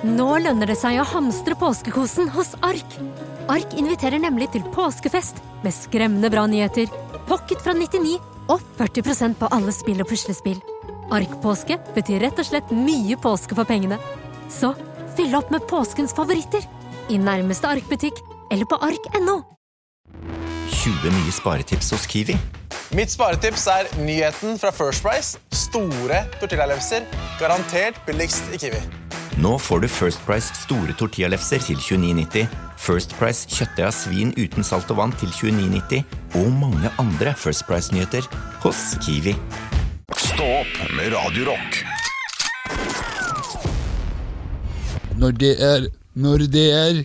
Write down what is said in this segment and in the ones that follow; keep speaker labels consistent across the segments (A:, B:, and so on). A: Nå lønner det seg å hamstre påskekosen hos Ark. Ark inviterer nemlig til påskefest med skremmende bra nyheter, pocket fra 99 og 40 på alle spill og puslespill. Ark-påske betyr rett og slett mye påske for pengene. Så fyll opp med påskens favoritter i nærmeste Ark-butikk eller på ark.no.
B: 20 nye sparetips hos Kiwi.
C: Mitt sparetips er nyheten fra First Price. Store tortillalefser. Garantert billigst i Kiwi.
B: Nå får du First Price store tortillalefser til 29,90, First Price kjøttdeig av svin uten salt og vann til 29,90 og mange andre First Price-nyheter hos Kiwi.
D: Stå opp med Radio Rock.
E: Når det er Når det er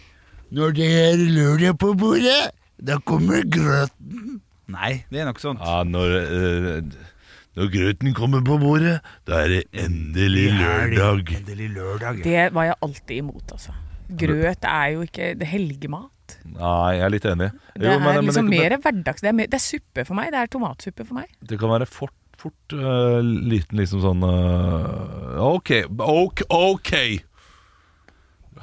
E: Når det er lørdag på bordet, da kommer grøten.
F: Nei, det er nok sånn.
G: Ja, når, eh, når grøten kommer på bordet, da er det endelig lørdag.
F: Endelig lørdag.
H: Det var jeg alltid imot, altså. Grøt er jo ikke det er helgemat.
G: Nei, jeg er litt enig.
H: Det
G: Jo,
H: er
G: men- men
H: liksom
G: det,
H: mer hverdags... Det er, mer, det er suppe for meg. Det er tomatsuppe for meg.
G: det, det kan være fort, fort eh, liten liksom sånn eh, ok, ok, ok.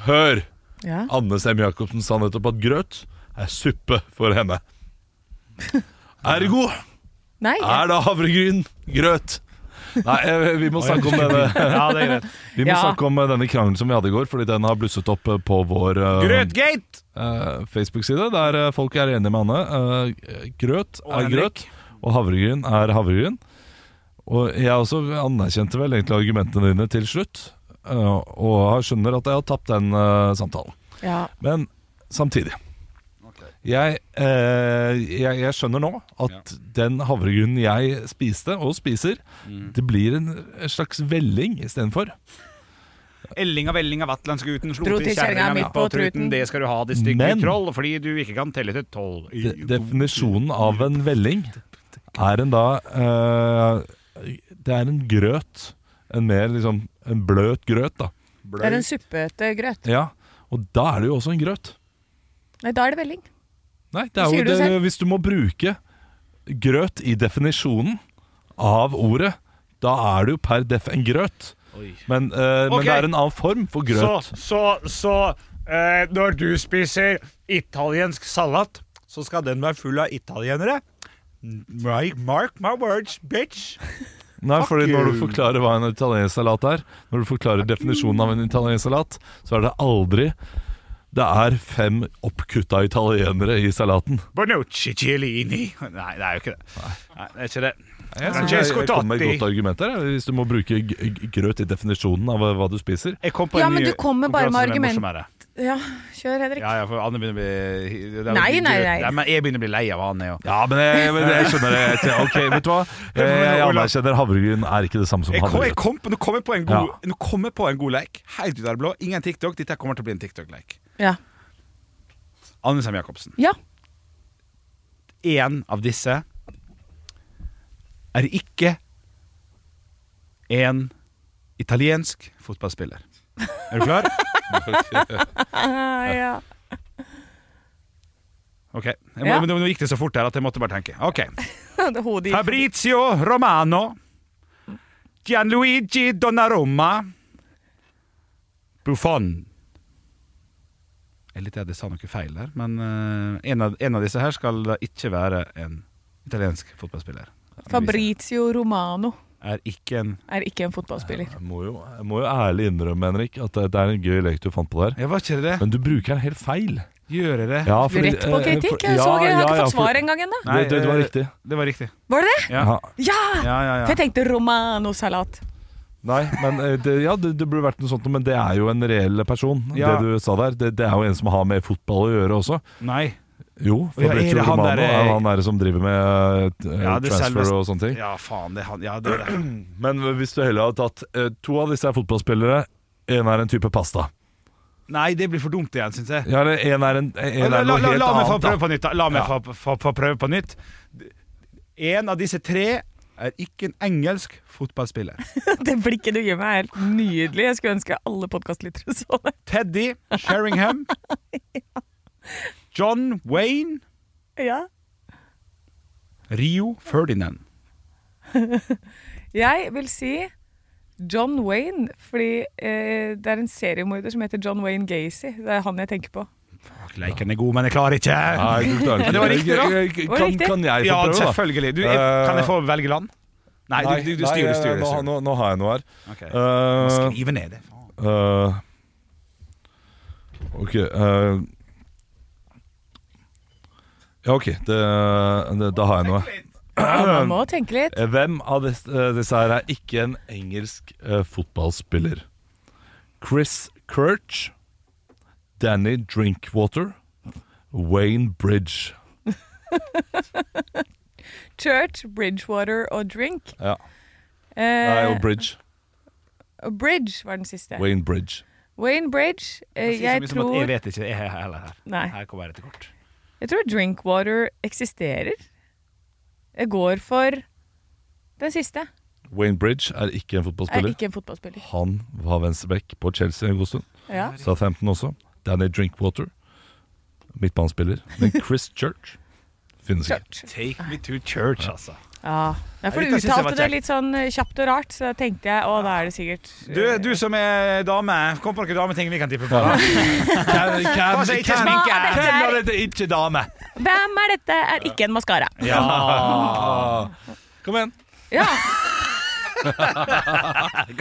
G: Hør!
H: Ja.
G: Anne Sem Jacobsen sa nettopp at grøt er suppe for henne. Ergo
H: Nei,
G: er det havregryn grøt. Nei, eh, vi må snakke om denne
F: Ja, det er greit.
G: Vi må
H: Ja.
G: snakke om eh, denne krangelen som vi hadde i går, fordi den har blusset opp eh, på vår eh,
F: Grøtgate!
G: eh, Facebook-side, der eh, folk er enige med Anne. Eh, grøt
F: Og
G: er grøt,
F: Henrik.
G: og havregryn er havregryn. Og jeg også anerkjente vel egentlig argumentene dine til slutt, eh, og jeg skjønner at jeg har tapt den eh, samtalen.
H: ja.
G: Men samtidig jeg, eh, jeg, jeg skjønner nå at den havregrunnen jeg spiste, og spiser,
F: Mm.
G: det blir en slags velling istedenfor.
F: Ellinga vellinga vatlandsguten slo
H: Dro
F: til kjerringa midt på truten. Det skal du ha, det stygge
G: Men-
F: troll, fordi du ikke kan telle til tolv.
G: De definisjonen av en velling er en da eh, Det er en grøt. En mer liksom en bløt grøt, da.
H: Det er en suppete grøt.
G: Ja, Og da er det jo også en grøt.
H: Nei, da er det velling.
G: Nei, det er
H: Sier
G: jo
H: du
G: det,
H: selv?
G: Hvis du må bruke grøt i definisjonen av ordet, da er det jo per def en grøt. Men, eh,
F: Ok.
G: men det er en annen form for grøt.
F: Så, så, så eh, når du spiser italiensk salat, så skal den være full av italienere? Mark, mark my words, bitch.
G: Nei,
F: Fuck
G: fordi når du
F: you.
G: forklarer hva en italiensk salat er Når du forklarer definisjonen av en italiensk salat Så er det aldri Det er fem oppkutta italienere i salaten
F: Bonucci Cielini. Nei, det er jo ikke det. Nei, det er ikke det.
G: Jeg,
F: synes
G: jeg,
F: jeg-
G: jeg kommer med et godt argument her jeg, Hvis du må bruke g- g- grøt i definisjonen av hva du spiser
F: Jeg kom på
H: Ja,
F: en
H: men
F: ny
H: du kommer bare
F: konkurranse som
H: med
F: er
H: argument.
F: morsommere.
H: Ja, kjør, Henrik.
F: Ja, ja, for Anne begynner å bli det er jo
H: Nei,
F: ikke
H: nei,
F: grøt.
H: nei.
F: Men jeg begynner å bli lei av han, jeg òg.
G: Ja, men jeg, Eh, men jeg skjønner det jeg, Ok, vet du hva? Jeg, jeg anerkjenner havregryn er ikke det samme som
F: Jeg kom, jeg
G: havregryn
F: kom, på- nå kom jeg på en god, nå kom jeg på en god lek. Helt ut av det blå. Ingen TikTok. Dette kommer til å bli en TikTok-lek.
H: Ja.
F: Anne Sem Jacobsen.
H: ja.
F: Én av disse er ikke en italiensk fotballspiller. Er du klar?
H: Ah, ja.
F: Ok. Jeg må,
H: Ja.
F: men Nå nå gikk det så fort her at jeg måtte bare tenke. Ok.
H: Det er Hodet i
F: Fabrizio Romano. Gianluigi Donnarumma. Buffon. Jeg er litt redd jeg sa noe feil der, men eh, en, av, en av disse her skal da ikke være en italiensk fotballspiller.
H: Fabrizio Romano
F: Er ikke en
H: er ikke en fotballspiller.
G: jeg må, jo, jeg må jo ærlig innrømme, Henrik At det, det er en gøy lek du fant på der
F: Jeg var ikke det.
G: Men du bruker den helt feil
F: Gjør jeg det?
G: ja,
H: Du er Rett på
G: eh, for-
H: kritikk. Jeg, så, jeg har
G: ja, ja,
H: ikke fått
G: for-
H: svar engang ennå.
G: Det, det, det var riktig
F: Det var riktig.
H: Var det det?
F: Ja.
H: Ja!
F: Ja, ja,
H: For
F: ja.
H: jeg tenkte romanosalat.
G: Nei, men eh, det, ja, det, det burde vært noe sånt, men det er jo en reell person.
F: Ja.
G: Det du sa der, det, det er jo en som har med fotball å gjøre også.
F: Nei.
G: Eh, Jo,
F: Ja, er
G: Fabrizio
F: det han
G: Romano
F: der, eh,
G: er han der som driver med eh,
F: Ja, det
G: transfer
F: selveste-
G: og sånne ting.
F: Ja, faen. Det er han. Ja, det er det.
G: Men hvis du heller hadde tatt eh, to av disse er fotballspillere, én er en type pasta.
F: Nei, det blir for dumt igjen, syns jeg.
G: Ja, eller én er, en, en er
F: la, la,
G: noe
F: la,
G: helt
F: la meg få
G: annet.
F: prøve på nytt. da. La meg
G: Ja.
F: få, få, få prøve på nytt. En av disse tre er ikke en engelsk fotballspiller.
H: Det blikket du gir meg, er helt nydelig. Jeg skulle ønske alle podkastlyttere så det.
F: Teddy Sheringham. John Wayne
H: Ja.
F: Rio Ferdinand.
H: Jeg vil si John Wayne, fordi eh, det er en seriemorder som heter John Wayne Gacy. Det er han jeg tenker på.
F: Leiken er god, men jeg klarer ikke.
G: Nei, du klarer ikke.
F: Men det var riktig, da.
G: Jeg- jeg-
H: Var det
G: Kan,
H: riktig?
G: kan jeg få
F: ja,
G: prøve, da? Eh,
F: selvfølgelig. Du, jeg, kan jeg få velge land? Nei, du, du, du
G: nei,
F: styrer.
G: jeg-
F: styrer,
G: Nå,
F: styrer.
G: nå, nå har jeg noe her.
F: Ok.
G: Eh,
F: Skriv ned det,
G: eh, ok eh, Ja, ok. Det, det, da har jeg noe.
H: Ja, man må tenke litt.
G: Eh, Hvem av disse, eh, disse her er ikke en engelsk eh, fotballspiller? Chris Kirch, Danny Drinkwater, Wayne Bridge.
H: Church, Bridgewater og Drink.
G: Ja. Nei,
H: Eh,
G: og Bridge.
H: og Bridge var den siste.
G: Wayne Bridge.
H: Wayne Bridge. Eh, jeg, tror,
F: Jeg vet ikke, jeg er heller her.
H: Nei.
F: Her kommer jeg til kort.
H: jeg tror Drinkwater eksisterer. Jeg går for den siste.
G: Wayne Bridge er ikke en fotballspiller.
H: Er ikke en fotballspiller.
G: Han var venstreback på Chelsea en god stund.
H: Ja.
G: Southampton også. Danny Drinkwater. Midtbanespiller. Men Chris Church finnes ikke.
F: Take me to church, altså.
H: Ja. Nei, for
F: Ja,
H: du
F: dette synes jeg var
H: uttalte det
F: kjekt.
H: litt sånn eh, kjapt og rart, så da tenkte jeg å, da er det sikkert eh,
F: Du, du som er dame, kom på noen dameting vi kan tippe på. da.
G: Hvem- hvem-
F: Kanskje ikke
H: hvem-
F: sminke.
H: Hva er dette her?
F: Hvem er dette ikke dame?
H: Hvem er dette? Er ikke en maskara.
G: Ja. Kom igjen.
H: Ja.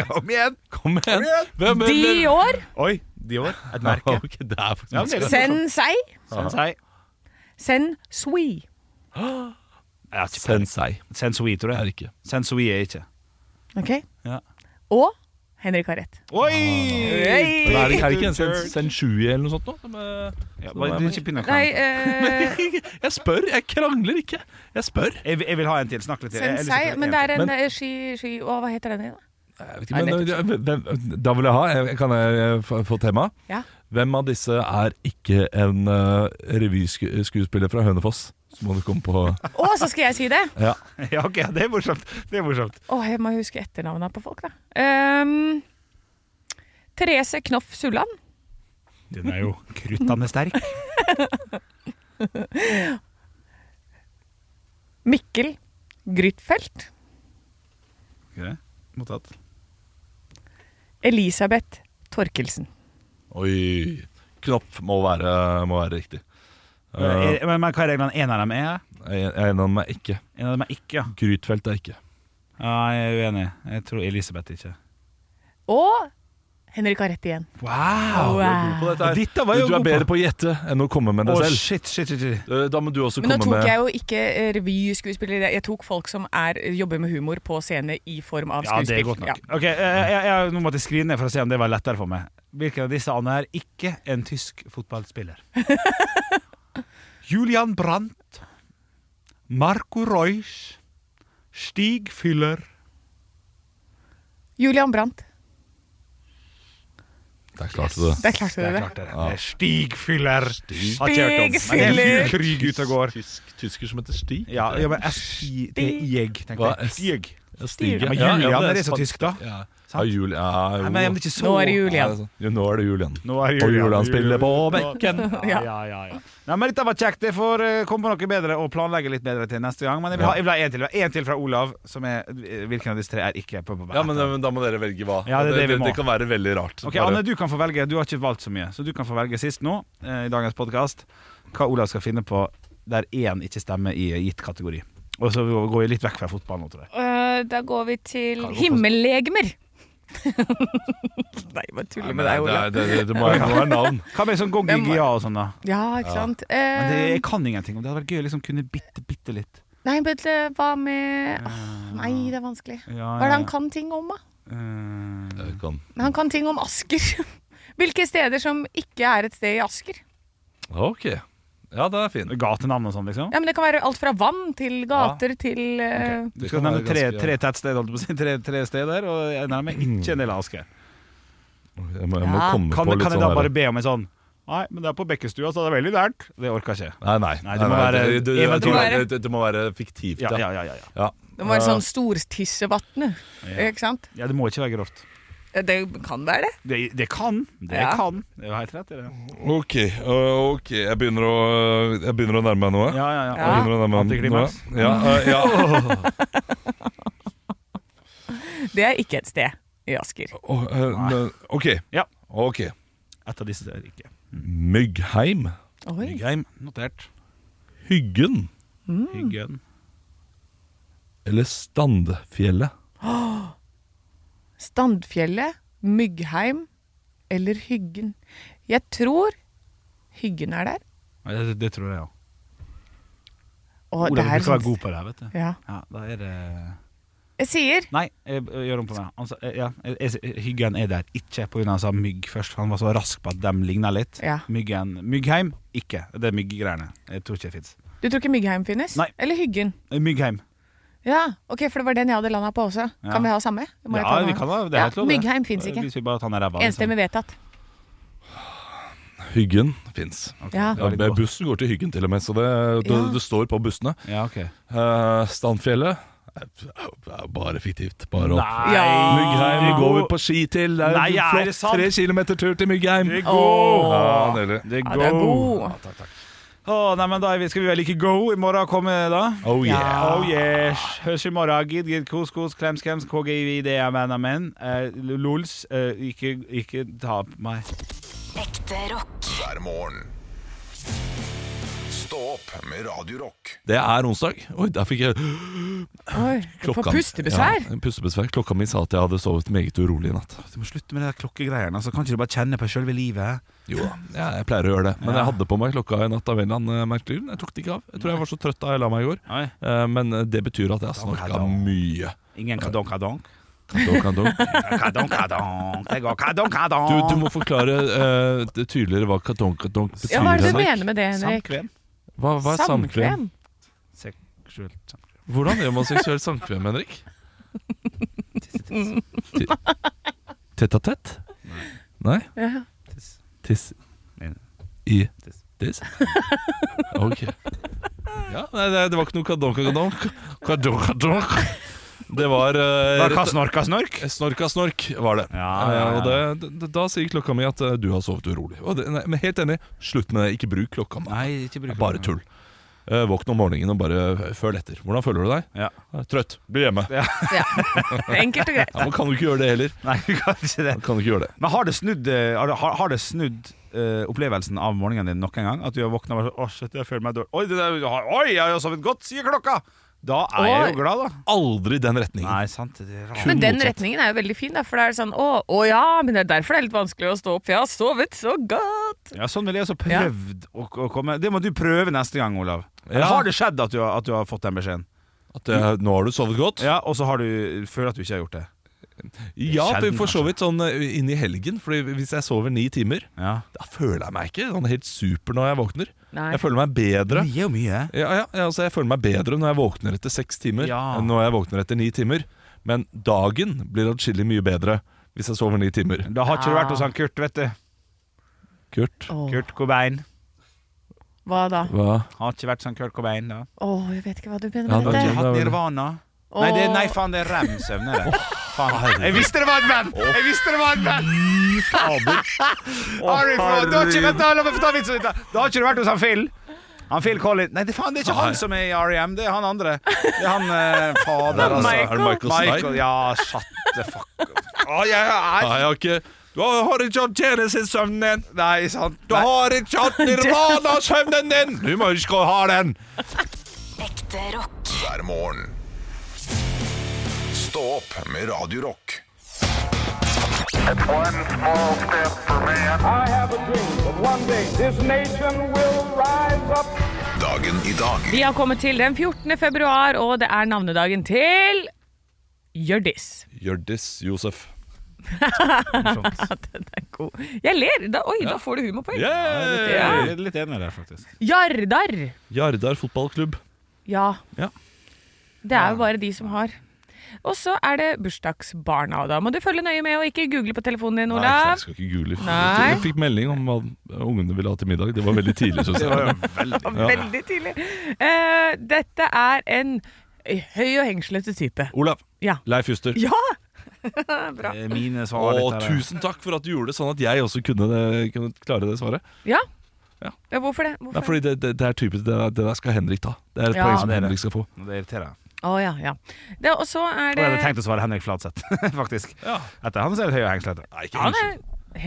F: Kom igjen.
G: Kom igjen. Hvem, hvem- hvem-
H: Dior.
F: Oi, Dior. Et merke.
G: Ok, det er faktisk
F: Ja, men det er-
H: Sensei.
F: Sensei.
H: Sensui.
F: Jeg har ikke peiling.
G: Sensei.
F: Sensui, tror
G: Er
F: jeg.
G: ikke.
F: Sensui er jeg ikke.
H: Ok.
F: Ja.
H: Og Henrik har rett.
F: Oi!
G: Men er det, er det ikke en sen, Sensui eller noe sånt nå? Som, eh,
F: Ja,
G: som
F: bare,
G: er-
F: du, ikke begynn å
H: Nei,
F: klage.
H: eh,
G: Jeg spør. Jeg krangler ikke. Jeg spør.
F: Jeg, vil- jeg vil ha en til. Snakk litt til. Jeg- jeg
H: sensei.
F: lyst til å-
H: Men det er
G: Men-
H: en eh, ski... ski å, hva heter den igjen? da?
G: Jeg vet ikke, men, hvem, da vil jeg ha. jeg- Kan jeg eh, få få tema?
H: Ja.
G: Hvem av disse er ikke en eh, revyskuespiller fra Hønefoss? Så må du komme på
H: Å, så skal jeg si det!
G: Ja.
F: Ja, ok, det er morsomt. Det er morsomt.
H: Å, jeg må huske etternavnene på folk, da. Ehm, Therese Knoff Sulland.
F: Den er jo kruttende sterk.
H: Mikkel Grytfeldt.
F: Ok, Mottatt.
H: Elisabeth Torkelsen.
G: Oi. Knopp må være, må være riktig.
F: Eh,
G: Eh,
F: Men, men hva er reglene? En av dem er
G: jeg jeg er enig med meg ikke.
F: En av dem er ikke, ja.
G: Grytfelt er ikke.
F: ja jeg er uenig. Jeg tror Elisabeth ikke.
H: Og Henrik har rett igjen.
F: Wow!
H: Wow.
G: Dette er,
F: Dette var jo
G: du er
F: god på.
G: bedre på å gjette enn å komme med
F: Å,
G: det selv.
F: shit, shit, shit, shit.
G: Eh, Da må du også
H: Men nå
G: komme
H: tok
G: med
H: jeg jo ikke eh, revyskuespillere. Jeg tok folk som er, jobber med humor på scene i form av
F: Ja,
H: skuespill.
F: det er godt nok. Ok, eh, jeg, jeg, Nå måtte jeg skrive ned for å se om det var lettere for meg. Hvilken av disse andre er ikke en tysk fotballspiller? Julian Brandt, Marco Reusch, Stig Fyller
H: Julian Brandt.
G: Der klarte du det.
H: Der klarte
F: Der
H: du det.
F: klarte jeg det. Det er Stig Fyller. Har ikke hørt om. Men det
H: Stig
F: er
H: Fyller.
F: full krig ute og går.
G: Tysk, tysker som heter Stig?
F: Ja, ja men S-I-T-I-G, tenkte
G: Hva
F: jeg.
G: er S?
F: Stig.
G: Ja, Stig.
F: Men
G: Ja, ja,
F: Julian
G: det
F: er så
G: span-
F: tysk, da.
G: Ja, ja
F: Sant?
G: Julian ja, jo.
F: Nei, men det er ikke så
H: Nå er det
G: Ja,
H: Julian.
G: det er sånn. Jo, nå er det Julian.
F: Nå er
G: Og Julian spiller på bekken.
F: Ja, ja, ja, ja. Nei, men Dette var kjekt. Jeg får eh, komme på noe bedre og planlegge litt bedre til neste gang. Men jeg vil ha, jeg vil ha en til. Jeg vil ha En til fra Olav. Som er, hvilken av disse tre er ikke på, på
G: Ja, men, men da må dere velge hva.
F: Ja, det er det vi må.
G: kan være veldig rart.
F: Ok,
G: Bare-
F: Anne, du kan få velge. Du har ikke valgt så mye. Så du kan få velge sist nå, eh, i dagens podkast, hva Olav skal finne på der én ikke stemmer i gitt kategori. Og så går vi litt vekk fra fotball nå, tror jeg.
H: Øh, da går vi til
G: Kan gå på-
H: himmellegemer. Nei, bare tuller med
G: Nei, det,
H: deg, Ola.
G: er- det, det, det må det må være navn.
F: Hva med sånn
H: Hvem-
F: Gongigia og sånn, da?
H: Ja, ikke sant.
F: Men det,
H: Eh,
F: jeg kan ingenting om det. Det hadde vært gøy å liksom kunne bitte, bitte litt.
H: nei, men det- hva med Åh, Nei, det er vanskelig.
F: Ah. Ja,
H: Hva er det han kan ting om, da?
F: Eh,
G: Jeg kan.
H: Han kan ting om Asker. Hvilke steder som ikke er et sted i Asker.
G: Ok. Ja, det er fint.
F: Gatenavn og sånn, liksom?
H: Ja, men Det kan være alt fra vann til
F: Ah.
H: gater til eh,
F: Du skal nevne tre, tre tettsteder, holdt jeg på å si. Tre, tre steder, og jeg nærmer meg ikke en del av Asker.
G: Jeg må, jeg må komme på
F: kan, kan
G: litt
F: jeg
G: sånn
F: da
G: her-
F: bare be om en sånn Nei, men det er på Bekkestua, så det er veldig nært. Det orker jeg ikke.
G: Nei, nei.
F: det må
G: Nei,
F: være
G: nei, det- det- det-
F: eventuelt-
G: det må være- det- det må være fiktivt,
F: Ja, ja, ja, ja, ja.
H: Det må være sånn stortissevatnet,
F: Ja.
H: ikke sant?
F: Ja, det må ikke være grovt.
H: Det kan være det.
F: Det, det kan. Det
H: Ja.
F: kan. Det er jo helt rett, det.
G: Ok, øh, ok, jeg begynner å, jeg begynner å nærme meg noe.
F: Ja, ja, ja.
G: Jeg begynner å nærme meg noe.
F: Antiklimaks.
G: Ja, øh, ja.
H: Det er ikke et sted i Asker.
G: Åh, øh, men- ok. Ok.
F: Et av disse er ikke.
G: Myggheim.
H: Oi. Mm.
F: Myggheim, notert.
G: Hyggen.
F: Hyggen.
G: Eller Standfjellet.
H: Åh! Standfjellet, Myggheim eller Hyggen. Jeg tror Hyggen er der.
F: Nei, det, det tror jeg òg.
H: Åh,
F: Olav,
H: det er
F: du skal
H: sånn-
F: være god på det her, vet du.
H: Ja.
F: da er det
H: Jeg sier
F: Nei, jeg, jeg gjør om på meg. Altså, jeg- ja, jeg, jeg, hyggen er der ikke pga. altså, mygg først, for han var så rask på at de ligna litt.
H: Ja.
F: Myggen, Myggheim ikke. Det er mygggreiene. Jeg tror ikke det fins.
H: Du tror ikke Myggheim finnes?
F: Nei.
H: Eller Hyggen?
F: Myggheim.
H: Ja, ok, for det var den jeg hadde landa på også.
F: Ja.
H: Kan vi ha samme? Må jeg ta
F: Ja,
H: den
F: vi
H: her?
F: kan da, det er helt
H: ja,
F: lov. det. Eh,
H: Myggheim fins ikke.
F: Hvis vi bare tar den ræva. liksom.
H: Enstemmig vedtatt.
G: Hyggen fins.
H: Ja.
G: Ja, men bussen går til Hyggen til og med, så det, det,
H: Ja.
G: det står på bussene.
F: Ja, ok
G: Eh, Standfjellet er- er bare fiktivt. Bare opp.
F: Nei. Ja.
G: Myggheim går vi på ski til. Det er
F: Nei, er
G: flott.
F: det sant?
G: Tre kilometer tur til Myggheim.
F: Det er god.
G: Ja, nydelig.
F: Det er
H: Ja, det er
F: god.
H: god.
F: Å, nei, men da er vi, Skal vi være like go i morgen? Komme da?
G: Oh yeah.
H: Ja.
F: Oh yes. Hørs i morgen. Gid, gid, kos, kos, klems, klems, KGIV, det er menn, menn. Eh, lols, eh, ikke, ikke ta på meg.
D: Ekte rock. Hver morgen. Stå opp med Radio Rock.
G: Det er onsdag. Oi, der fikk jeg
H: Oi, du får pustebesvær.
G: Ja, pustebesvær. Klokka mi sa at jeg hadde sovet meget urolig i natt.
F: Du må slutte med det der klokkegreiene. Altså, kan ikke du bare kjenne på selve livet?
G: Jo da, ja, jeg pleier å gjøre det. Men jeg hadde på meg klokka i natt av en eller annen eh, merkelig grunn. Jeg tok det ikke av. Jeg tror jeg var så trøtt da jeg la meg i går.
F: Nei.
G: Eh, Men eh, det betyr at jeg har snorka mye.
F: Ingen kadong, kadong.
G: Kadong, kadong.
F: Kadong, kadong. Det går kadong, kadong.
G: Du, du må forklare eh, det tydeligere hva kadong, kadong betyr.
H: Ja, hva er det du
G: Henrik.
H: mener med det, Henrik?
F: Samkvem.
G: Hva, hva er samkvem?
F: Seksuelt samkvem.
G: Hvordan gjør man seksuelt samkvem, Henrik? Ti- Tett a tett? Nei?
H: Ja.
G: Tiss
F: Nei.
G: i tiss? Ok. Ja, nei, det, det var ikke noe kadonk kadonk. Kadonk kadonk. Det var eh,
F: Hva, hva
G: rett-
F: snorka snork?
G: Snorka snork, var det.
F: Ja, ja,
G: Eh,
F: ja.
G: Og det, det, da sier klokka mi at eh, du har sovet urolig. Og det, nei, men helt enig, slutt med det. Ikke bruk klokka. mi.
F: Nei, ikke bruk
G: Bare tull. Eh, Våkn om morgenen og bare føl etter. Hvordan føler du deg?
F: Ja.
G: Eh, Trøtt. Bli hjemme. Ja.
H: Ja. Enkelt og greit.
G: men kan du ikke gjøre det heller?
F: Nei, vi kan ikke det.
G: Kan du ikke gjøre det?
F: Men har det snudd, eh, har det, har, har det snudd eh, opplevelsen av morgenen din nok en gang? At du har våkna og bare sånn, Å, shit, jeg føler meg dårlig. Oi, det der, oi, jeg har jo sovet godt, sier klokka! Da er jeg jo glad, da.
G: Aldri den retningen.
F: Nei, sant. Det er rart.
H: Men den
G: motsatt.
H: retningen er jo veldig fin, da, for det er sånn å, å ja, men det er derfor det er litt vanskelig å stå opp, for jeg har sovet så godt.
F: Ja, sånn ville jeg også prøvd å, å komme Det må du prøve neste gang, Olav. Eller
G: Ja.
F: Har det skjedd at du, har- at du har fått den beskjeden?
G: At eh, nå har du sovet godt?
F: Ja, Og så har du føler at du ikke har gjort det.
G: Ja,
F: Sjelden, altså.
G: for så vidt sånn eh, inn i helgen. Fordi hvis jeg sover ni timer,
F: Ja.
G: da føler jeg meg ikke sånn helt super når jeg våkner.
H: Nei.
G: Jeg føler meg bedre.
F: Mye og mye.
G: Ja, ja, ja, altså jeg føler meg bedre når jeg våkner etter seks timer
F: Ja.
G: enn når jeg våkner etter ni timer. Men dagen blir atskillig mye bedre hvis jeg sover ni timer.
F: Da har ikke du vært hos han Kurt, vet du.
G: Kurt,
H: Åh,
F: Kurt Cobain.
H: hva da?
G: hva?
F: Har ikke vært sånn Kurt Cobain, da.
H: Å, jeg vet ikke hva du mener
G: Ja,
F: Har
G: da-
H: med
F: ikke
H: dette.
G: da-
F: hatt Nirvana. Nei, det, nei, faen, det er Rem Søvne, det. Faen. Jeg visste det var et band! Jeg visste det var et band! Har du fått- du har ikke- vent da, la meg få ta vitsen litt da. Da har ikke du vært hos han Phil? Han Phil Collins Nei, det, faen, det er ikke han som er i R.E.M., det er han andre. Det er han eh, fader, altså.
G: Er det Michael
F: Michael,
G: Stipe?
F: ja, shut the fuck up. Å, jeg
G: Nei,
F: er
G: jeg har ikke Du har har ikke hatt tjenestesøvnen din!
F: Nei, sant.
G: Du har ikke hatt nirvana-søvnen din! Du må huske å ha den!
D: Ekte rock. Hver morgen. Stå opp med Radio Rock.
I: I have a dream that one day this nation will rise up.
D: Dagen i dag.
H: Vi har kommet til den 14. februar, og det er navnedagen til Hjørdis.
G: Hjørdis Josef.
H: Den er god. Jeg ler! Da, oi, da får du humorpoeng.
G: Yeah!
F: Jeg er litt enig der, faktisk.
H: Jardar.
G: Jardar fotballklubb.
H: Ja.
G: Ja.
H: Det er jo bare de som har. Og så er det bursdagsbarna, og da må du følge nøye med og ikke google på telefonen din,
G: Nei, jeg
H: Olav.
G: skal ikke google.
H: Nei.
G: Jeg fikk melding om hva ungene ville ha til middag. Det var veldig tidlig, synes jeg.
H: Det var jo Veldig tidlig. Eh, dette er en høy og hengslete type.
G: Olav.
H: Ja.
G: Leif Juster.
H: Ja! Bra.
F: Mine svar
G: Å,
F: dette er-
G: tusen takk for at du gjorde det, sånn at jeg også kunne, kunne klare det svaret.
H: Ja. ja hvorfor det? Hvorfor
G: Nei, fordi det, det, det er typisk det, der- det der skal Henrik ta. Det er et
H: Ja.
G: poeng som
H: Det er det.
G: Henrik skal få.
F: Det irriterer.
H: Å ja, ja. Det, og så
F: Jeg
H: er det
F: hadde tenkt å svare Henrik Fladseth, faktisk. Etter han så er det høy og hengslete. Nei, ikke
H: Han er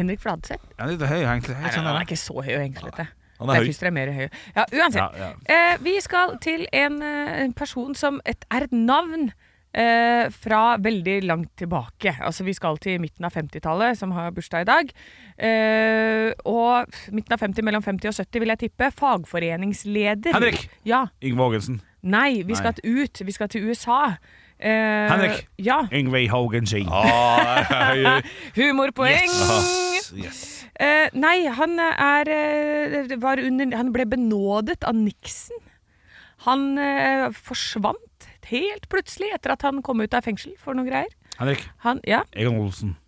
H: Henrik Fladseth.
F: Han er litt høy og hengslete.
H: Nei, han er ikke så høy og hengslete.
F: Han er høy.
H: Leif Juster er mer høy. Ja, uansett.
F: Ja,
H: Eh, vi skal til en eh, en person som et, er et navn eh, fra veldig langt tilbake. Altså, vi skal til midten av 50-tallet, som har bursdag i dag. Eh, og f- midten av 50, mellom 50 og 70, vil jeg tippe. Fagforeningsleder.
F: Henrik!
H: Ja.
F: Yngve Haagensen.
H: Nei, vi
F: Nei.
H: skal ut. Vi skal til USA. Eh,
F: Henrik!
H: Ja.
F: Yngve Haagensen.
G: Ah,
H: Humorpoeng!
F: Yes. Yes.
H: Eh, nei, han er eh, var under, Han ble benådet av Nixon. Han eh, forsvant helt plutselig etter at han kom ut av fengsel for noe greier.
F: Henrik.
H: Han, ja.
F: Egon Olsen.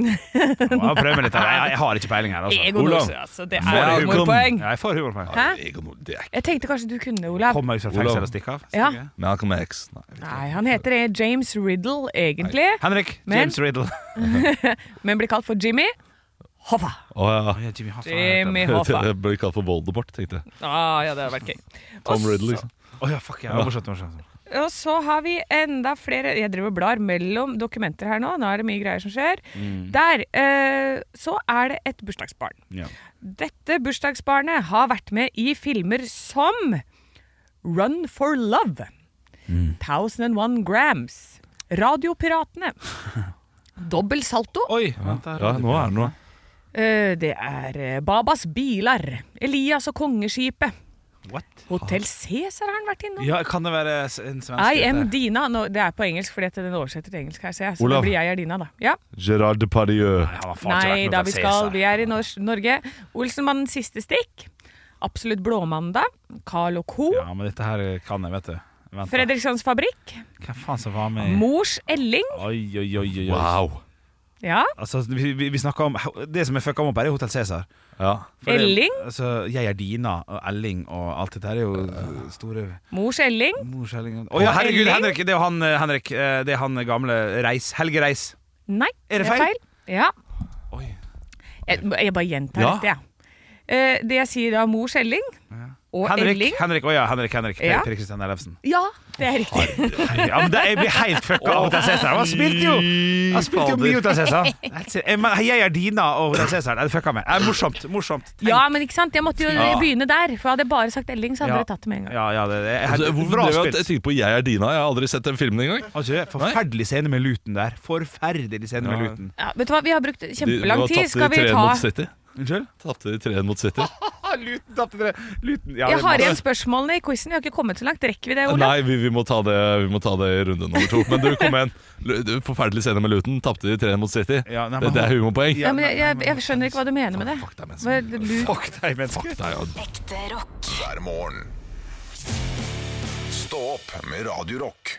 F: Jeg må prøve litt her. Jeg, jeg har ikke peiling her. Altså.
H: Egon
F: Olav.
H: Olsen, altså, det er
F: Nei, jeg-
H: humorpoeng.
F: Ja, Jeg får humorpoeng.
H: Hæ? Jeg tenkte kanskje du kunne, Olav.
F: Kom meg ut fra
G: Olav.
F: fengsel og stikk av.
H: Ja.
G: Malcolm X. Nei.
H: Nei, han heter eh, James Riddle, egentlig.
F: Henrik.
H: Men-
F: James Riddle.
H: Men blir kalt for Jimmy Hoffa.
G: Å ja.
F: Jimmy Hoffa.
H: Jimmy Hoffa.
G: Jeg ble kalt for Voldemort, tenkte jeg.
H: Ah, ja, det hadde vært gøy.
G: Tom Riddle, liksom.
F: Å ja, fuck, jeg har fortsatt morsomt.
H: Og så har vi enda flere Jeg driver og blar mellom dokumenter her nå. Nå er det mye greier som skjer.
F: Mm.
H: Der. eh, så er det et bursdagsbarn.
F: Ja.
H: Dette bursdagsbarnet har vært med i filmer som Run for Love,
F: Mm.
H: 1001 Grams, Radiopiratene, Dobbel salto
F: Oi,
G: Ja, nå er det noe.
H: Det er eh, Babas biler, Elias og kongeskipet.
F: What?
H: Hotell Cæsar har han vært innom.
F: Ja, kan det være s- en svensk?
H: I am
F: dette?
H: Dina. Nå, det er på engelsk, fordi at den oversetter til engelsk her, ser jeg. Så
G: Olav.
H: det blir jeg er Dina, da. Ja.
G: Gerard Depardieu.
H: Nei, da vi skal. Vi er i Nors Norge. Olsenmannens siste stikk. Absolutt blåmandag. Carl og Co.
F: Ja, men dette her kan jeg, vet du. Vent, da.
H: Fredrikssons fabrikk.
F: Hvem faen som var med? i-
H: Mors Elling.
F: Oi, oi, oi, oi. oi.
G: Wow.
H: Ja.
F: Altså, vi, vi, vi snakker om Det som er fucka opp her, er Hotell Cæsar. For det-
H: Elling.
F: Altså, jeg er Dina og Elling og alt dette her er jo øh, store
H: Mors Elling.
F: Mors Elling. Å ja, herregud,
H: Elling.
F: Henrik! Det er jo han, eh, Henrik, eh, det er han gamle Reis. Helge Reis.
H: Nei,
F: Er det feil?
H: Ja. Jeg, jeg bare gjentar
F: Ja.
H: dette, jeg. Eh, det jeg sier da, Mors Elling og
F: Henrik,
H: Elling.
F: Henrik, å ja, Henrik, Henrik Per,
H: Ja.
F: per Christian Ellefsen.
H: Ja, det er riktig.
F: Ja, men det, jeg blir helt fucka av Hotell Cæsar. Han spilte jo Han spilte jo
G: fader.
F: mye Hotell Cæsar. Helt sikkert. Jeg mener, Jeg er Dina og Hotell Cæsar. Nei, Det fucka meg. Det er morsomt. morsomt.
H: Ja, men ikke sant? Jeg måtte jo
F: Ja.
H: begynne der, for hadde jeg bare sagt Elling, så hadde dere tatt det med en gang.
F: Ja, ja, det, det er
G: Altså,
F: helt
G: hvorfor
F: bra
G: drev jeg,
F: spilt.
G: jeg tenkte på Jeg er Dina? Jeg har aldri sett den filmen engang.
F: Altså, Forferdelig scene med luten der. Forferdelig scene med luten.
H: Ja, vet du hva, vi har brukt kjempelang tid.
G: De,
H: Skal
G: de
H: vi
G: var
H: ta
G: tapt i 3-1 mot City.
F: Unnskyld?
G: Tapte de 3-1 mot City.
F: Ah, luten tapte dere. Luten. Ja,
H: Jeg
F: det er
H: har
F: masse-
H: igjen spørsmålene i quizen. Vi har ikke kommet så langt. Rekker vi det, Olav?
G: Nei, vi, vi, må ta det, vi må ta det i runde nummer to. Men du, kom igjen. Lu- du, Forferdelig scene med Luton. Tapte de 3-1 mot City.
F: nei,
G: det,
F: men
G: det er
F: han-
G: humorpoeng.
H: Ja, men jeg, jeg, jeg skjønner ikke hva du mener med det. Hva er det du-
F: Fuck deg, menneske.
D: Ekte rock. Hver morgen. Stå opp med Radio Rock.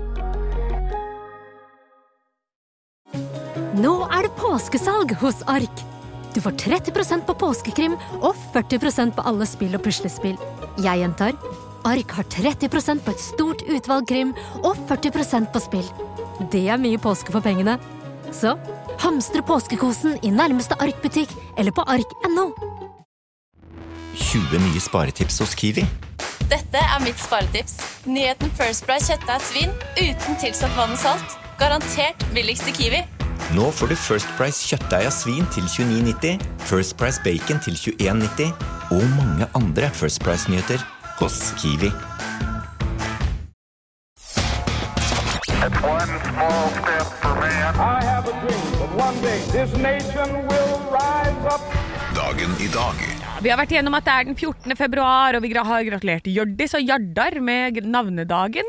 J: da.
A: Nå er det påskesalg hos Ark. Du får 30 på påskekrim og 40 på alle spill og puslespill. Jeg gjentar Ark har 30 på et stort utvalg krim og 40 på spill. Det er mye påske for pengene. Så hamstre påskekosen i nærmeste Ark-butikk eller på ark.no.
B: 20 nye sparetips hos Kiwi.
K: Dette er mitt sparetips. Nyheten First Price kjøttdeig og svin uten tilsatt vann og salt. Garantert billigst i Kiwi.
B: Nå får du First Price kjøttdeig av svin til 29,90, First Price bacon til 21,90 og mange andre First Price-nyheter hos Kiwi.
I: It's one small step for I have a dream that one day this nation will rise up.
D: Dagen i dag
H: Vi har vært igjennom at det er den 14. februar, og vi gra- har gratulert Hjørdis og Jardar med g- navnedagen.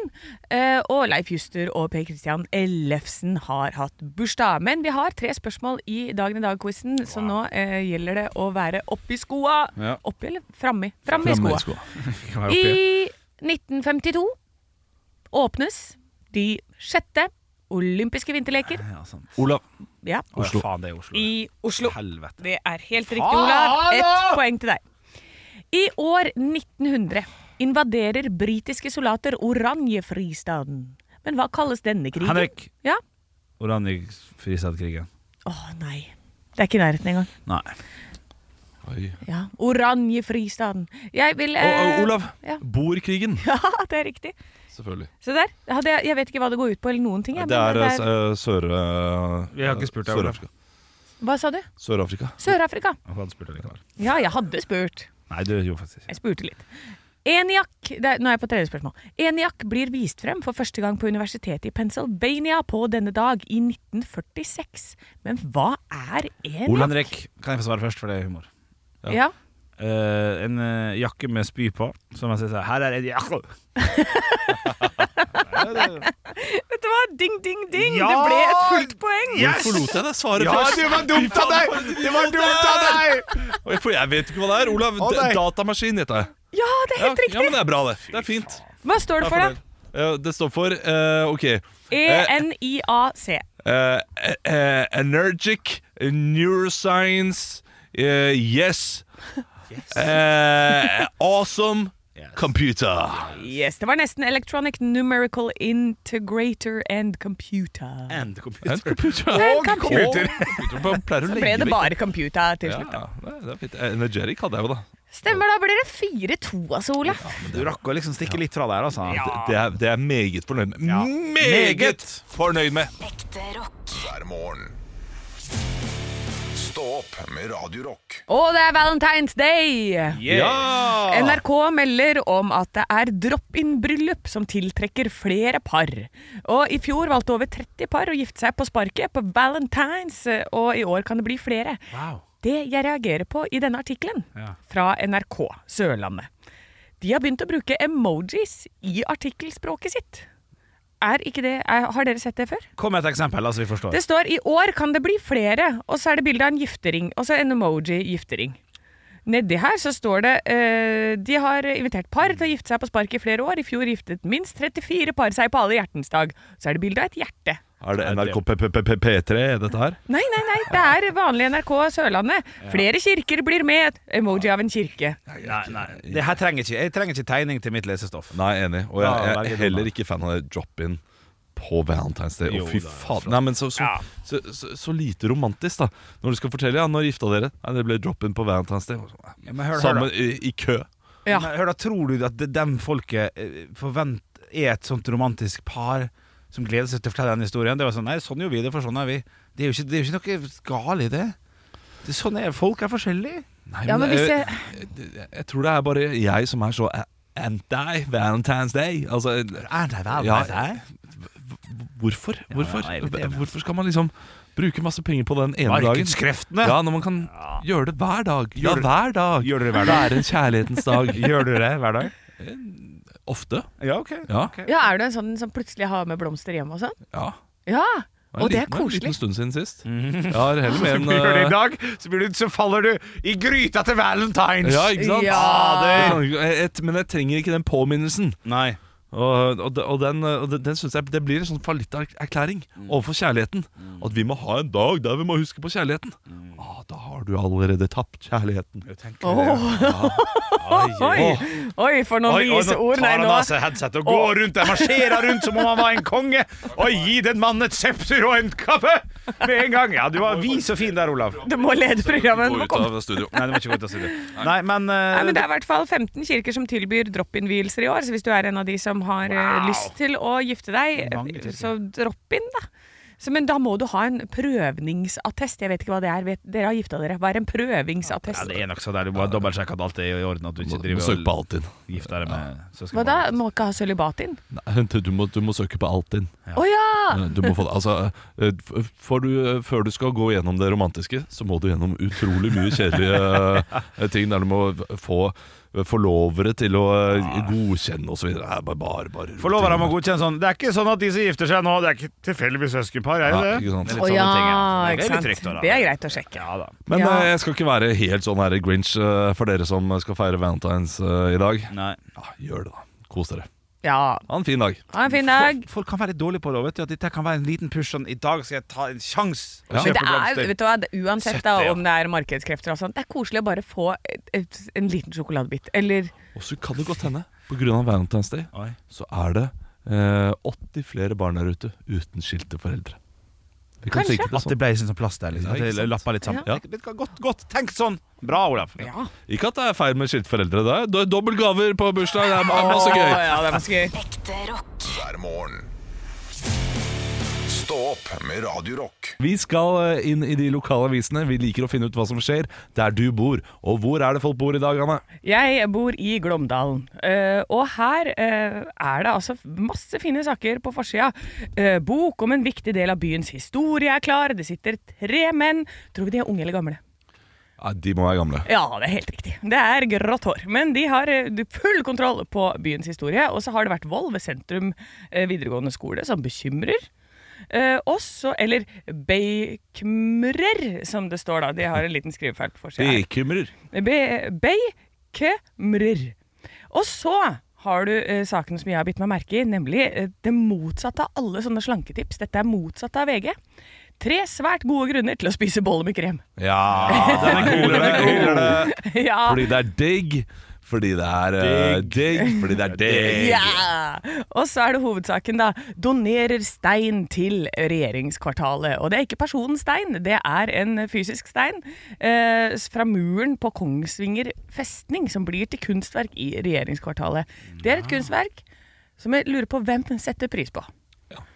H: Eh, Og Leif Juster og Per Christian Ellefsen har hatt bursdag. Men vi har tre spørsmål i Dagen i dag-quizen, så nå eh, gjelder det å være oppi skoa.
F: Ja.
H: Oppi eller framme? Framme i
F: Framme i
H: skoa.
F: skoa. Kan være oppi.
H: I 1952 åpnes de sjette olympiske vinterleker.
F: Olav.
H: Ja.
F: Oslo. faen, det er Oslo.
H: I Oslo.
F: Helvete.
H: Det er helt riktig,
F: Faen,
H: Olav.
F: da!
H: Ett poeng til deg. I år 1900 invaderer britiske soldater Oranjefristaden. Men hva kalles denne krigen?
F: Henrik.
H: Ja?
F: Hvordan gikk Fristad-krigen?
H: Å nei. Det er ikke i nærheten engang.
F: Nei.
H: Ja. Oranjefristaden. Jeg vil eh,
G: Og, og Olav,
H: Ja.
G: Borkrigen.
H: ja, det er riktig.
G: Selvfølgelig.
H: Se der. Jeg hadde- Jeg vet ikke hva det går ut på, eller noen ting. jeg,
G: Det
H: men
G: er eh, Sør... eh,
F: Vi har ikke spurt deg, Olav.
G: Sør-Afrika. altså-
H: Hva sa du?
G: Sør-Afrika.
H: Sør-Afrika.
F: Jeg hadde spurt deg likevel.
H: Ja, jeg hadde spurt.
F: Nei, det gjorde faktisk ikke.
H: Jeg spurte litt. Eniac det er, Nå er jeg på tredje spørsmål. Eniac blir vist frem for første gang på universitetet i Pennsylvania på denne dag i 1946. Men hva er eniac?
F: Olav Henrik, kan jeg få svare først, for det er humor.
H: Ja.
F: Eh, en eh, jakke med spy på, som jeg sier sånn Her er en jakke!
H: Vet du hva? Ding, ding, ding!
F: Ja!
H: Det ble et fullt poeng!
G: Hvorfor lot jeg deg svare
F: Ja,
G: først?
F: det var dumt av deg! Det var dumt av
G: deg! For jeg vet ikke hva det er. Olav,
F: Å, nei.
G: d- datamaskin heter jeg.
H: Ja, det er
G: Ja,
H: helt riktig!
G: men det er bra, det. Det er fint.
H: Hva står det E for, da?
G: Eh, Det står for eh, OK eh,
H: ENIAC.
G: eh, eh, Energic Neuroscience eh, Yes, Eh, Awesome Computer.
H: Yes, det var nesten Electronic Numerical Integrator and Computer.
F: And computer.
H: And computer.
G: Man pleier å
H: Så ble
G: legge
H: det
G: vekk.
H: bare computer til slutt.
G: Ja, nei, det er fint. Energetic hadde jeg jo, da.
H: Stemmer, da blir det 4-2, altså, Olaf.
F: Du rakk å liksom stikke litt fra der, altså.
G: Det- Det, er, det er jeg meget fornøyd med. Meget
F: Meget.
G: fornøyd med!
D: hver morgen. Stå opp med Radio Rock.
H: Og det er Valentine's Day!
D: Ja!
H: NRK melder om at det er drop-in-bryllup som tiltrekker flere par. Og I fjor valgte over 30 par å gifte seg på sparket på Valentine's, og i år kan det bli flere. Det jeg reagerer på i denne artikkelen,
F: Ja.
H: fra NRK Sørlandet De har begynt å bruke emojis i artikkelspråket sitt. Er ikke det, er, har dere sett det før?
F: Kom med et eksempel, altså, vi forstår.
H: Det står 'i år kan det bli flere', og så er det bilde av en giftering. Og så en emoji-giftering. Nedi her så står det eh, De har invitert par til å gifte seg på sparket i flere år. I fjor giftet minst 34 par seg på alle hjertens dag. Så er det bilde av et hjerte.
G: Er det NRK P- P- P- P3, dette her?
H: Nei, nei, nei, det er vanlig NRK Sørlandet. Flere kirker blir med. Emoji av en kirke.
F: Nei, nei, det her trenger ikke Jeg trenger ikke tegning til mitt lesestoff.
G: Nei, enig. Og
F: Ja, veldig
G: jeg, jeg
F: dumt,
G: er heller ikke fan av det drop-in på Valentine's Day.
F: Jo,
G: Å, fy
F: det er
G: faen. Nei, men så, så, så, så, så lite romantisk, da. Når du skal fortelle ja, 'når gifta dere', Nei, det ble drop-in på Valentine's Day.
F: Ja, men hør da, hør
G: Sammen
F: da.
G: i, i kø.
H: Ja.
F: Men hør da, tror du at de- dem folket eh, forvent er et sånt romantisk par som gleder seg til å fortelle den historien? Det var sånn, nei, sånn gjør vi det, for sånn er vi. Det er jo ikke, det er jo ikke noe galt i det. det er sånn er, folk er forskjellige.
G: Nei,
H: Ja, men hvis
G: jeg,
H: jeg-
G: jeg, jeg tror det er bare jeg som er så a- anti-Valentine's Day. Altså
F: Anti-Valentine's Day?
G: Hvorfor? Hvorfor?
F: jeg vet det.
G: Hvorfor skal man liksom bruke masse penger på den ene dagen?
F: Markedskreftene.
G: Ja, når man kan gjøre det hver dag. Ja,
F: Gjør det-
G: hver dag.
F: Gjør dere hver dag?
G: Det er en kjærlighetens dag. Eh,
F: Gjør dere det hver dag?
G: Ofte.
F: Ja, ok.
G: Ja.
F: ok.
H: Ja, Er du en sånn som plutselig har med blomster hjem og sånn?
G: ja.
H: Ja!
G: en
H: Og det er
G: liten- En liten
H: koselig.
G: stund siden sist.
F: Mm.
G: Jeg har heller med
F: Så blir det i
G: en eh,
F: dag, så, blir du, så faller du i gryta til Valentine's.
G: Ja, ikke sant?
F: Ja, Ah, det-
G: Jeg kan- jeg- Men jeg trenger ikke den påminnelsen.
F: Nei.
G: Og, og, de- og den, eh, og den, den synes jeg Det blir en sånn fallitterklæring
F: Mm.
G: overfor kjærligheten. At vi må ha en dag der vi må huske på kjærligheten.
F: Mm.
G: Ah, da har du allerede tapt kjærligheten.
H: Oi, oi, for noen
F: Oi, oi,
H: vise ord. Nei,
F: tar han
H: nå.
F: av seg headsetet og går rundt der, marsjerer rundt som om han var en konge. Og gi den mannen et septer og en kappe med en gang. Ja, du var vis og fin der, Olav.
H: Du må lede programmet. Du må komme
G: studio.
F: Nei, du må ikke gå ut av studio. Nei, men, eh,
H: Nei, men Det er i hvert fall 15 kirker som tilbyr drop-in-vielser i år. Så hvis du er en av de som har eh,
F: Wow.
H: lyst til å gifte
F: Mange
H: deg,
F: kirker.
H: så drop-in, da. Så, men da må du ha en prøvningsattest. Jeg vet ikke hva det er. Vet, dere har gifta dere. Hva er en
F: ja,
H: prøvingsattest?
F: det er nok så der. Du må dobbeltsjekke at alt er i orden, at du ikke
G: Må- må
F: driver
G: søke på alt inn.
F: gifter deg med søsken.
H: Hva da? Må ikke ha sølibat inn?
G: Nei, vent, du, må, du må søke på alt inn.
H: Å ja! Ja!
G: Du må få det. Altså, eh, f- for du, eh, før du skal gå gjennom det romantiske, så må du gjennom utrolig mye kjedelige eh, ting der du må få eh, forlovere til å eh, godkjenne osv. Det er bare, bare, bare
F: Forloverne må godkjenne sånn. Det er ikke sånn at de som gifter seg nå, det er ikke tilfeldigvis søskenpar, er
G: Nei,
F: det
G: ikke
F: det?
G: sant.
F: Det er litt
H: Å
F: sånne
H: ja,
F: ting, ja. Det
H: ikke
F: er litt
H: sant.
F: trygt, da.
H: Det er greit å sjekke.
G: Men
H: Ja.
G: eh, jeg skal ikke være helt sånn her Grinch eh, for dere som skal feire Valentines eh, i dag. Ja, gjør det, da. Kos dere.
H: Ja.
G: Ha en fin dag.
H: Ha en fin dag.
F: Folk, folk kan være dårlige på det. Vet du, at dette kan være en liten push sånn I dag skal jeg ta en sjanse og
H: Men
F: kjøpe
H: det er,
F: blomster.
H: vet du hva, det- uansett da,
F: Søtte, ja.
H: om det er markedskrefter og sånt, det er koselig å bare få et, et, en liten sjokoladebit. Eller
G: Og så kan det godt hende, på grunn av Valentine's Day,
F: Ah.
G: så er det eh, 80 flere barn der ute uten skilte foreldre. Vi kan
F: Kanskje.
G: tenke
F: At det ble sånn som plast der, liksom. At det lappa litt sammen.
G: Ja.
F: Det- det kan Godt, godt tenkt sånn! Bra, Olaf.
G: Ikke at det er feil med skiltforeldre. Det er do- dobbelt gaver på bursdag. Det er ma-
F: Åh,
G: masse gøy.
F: ja, det er masse gøy.
D: Hver morgen. Stå opp med Radio Rock.
G: Vi skal eh, inn i de lokale avisene. Vi liker å finne ut hva som skjer der du bor. Og hvor er det folk bor i dag, Anne?
H: Jeg bor i Glåmdalen, eh, og her eh, er det altså masse fine saker på forsida. Eh, Bok om en viktig del av byens historie er klar, det sitter tre menn. Tror vi de er unge eller gamle?
G: Ja, de må være gamle.
H: Ja, det er helt riktig. Det er grått hår. Men de har eh, full kontroll på byens historie. Og så har det vært vold ved sentrum eh, videregående skole, som bekymrer. Eh, også, eller Beikmrer, som det står da. De har en liten skrivefeil på forsida. her.
G: Bekymrer.
H: Be- Beikemrer. Og så har du eh, sakene som jeg har bitt meg merke i, nemlig eh, det motsatte av alle sånne slanketips. Dette er motsatt av VG. Tre svært gode grunner til å spise boller med krem.
G: Ja, den er kul, den er kul.
H: ja.
G: Fordi det er digg. Fordi det er eh, digg. Fordi det er digg.
H: Ja! Og så er det hovedsaken, da. Donerer stein til regjeringskvartalet. Og det er ikke personen stein, det er en fysisk stein eh, fra muren på Kongsvinger festning, som blir til kunstverk i regjeringskvartalet. Det er et kunstverk som jeg lurer på hvem setter pris på.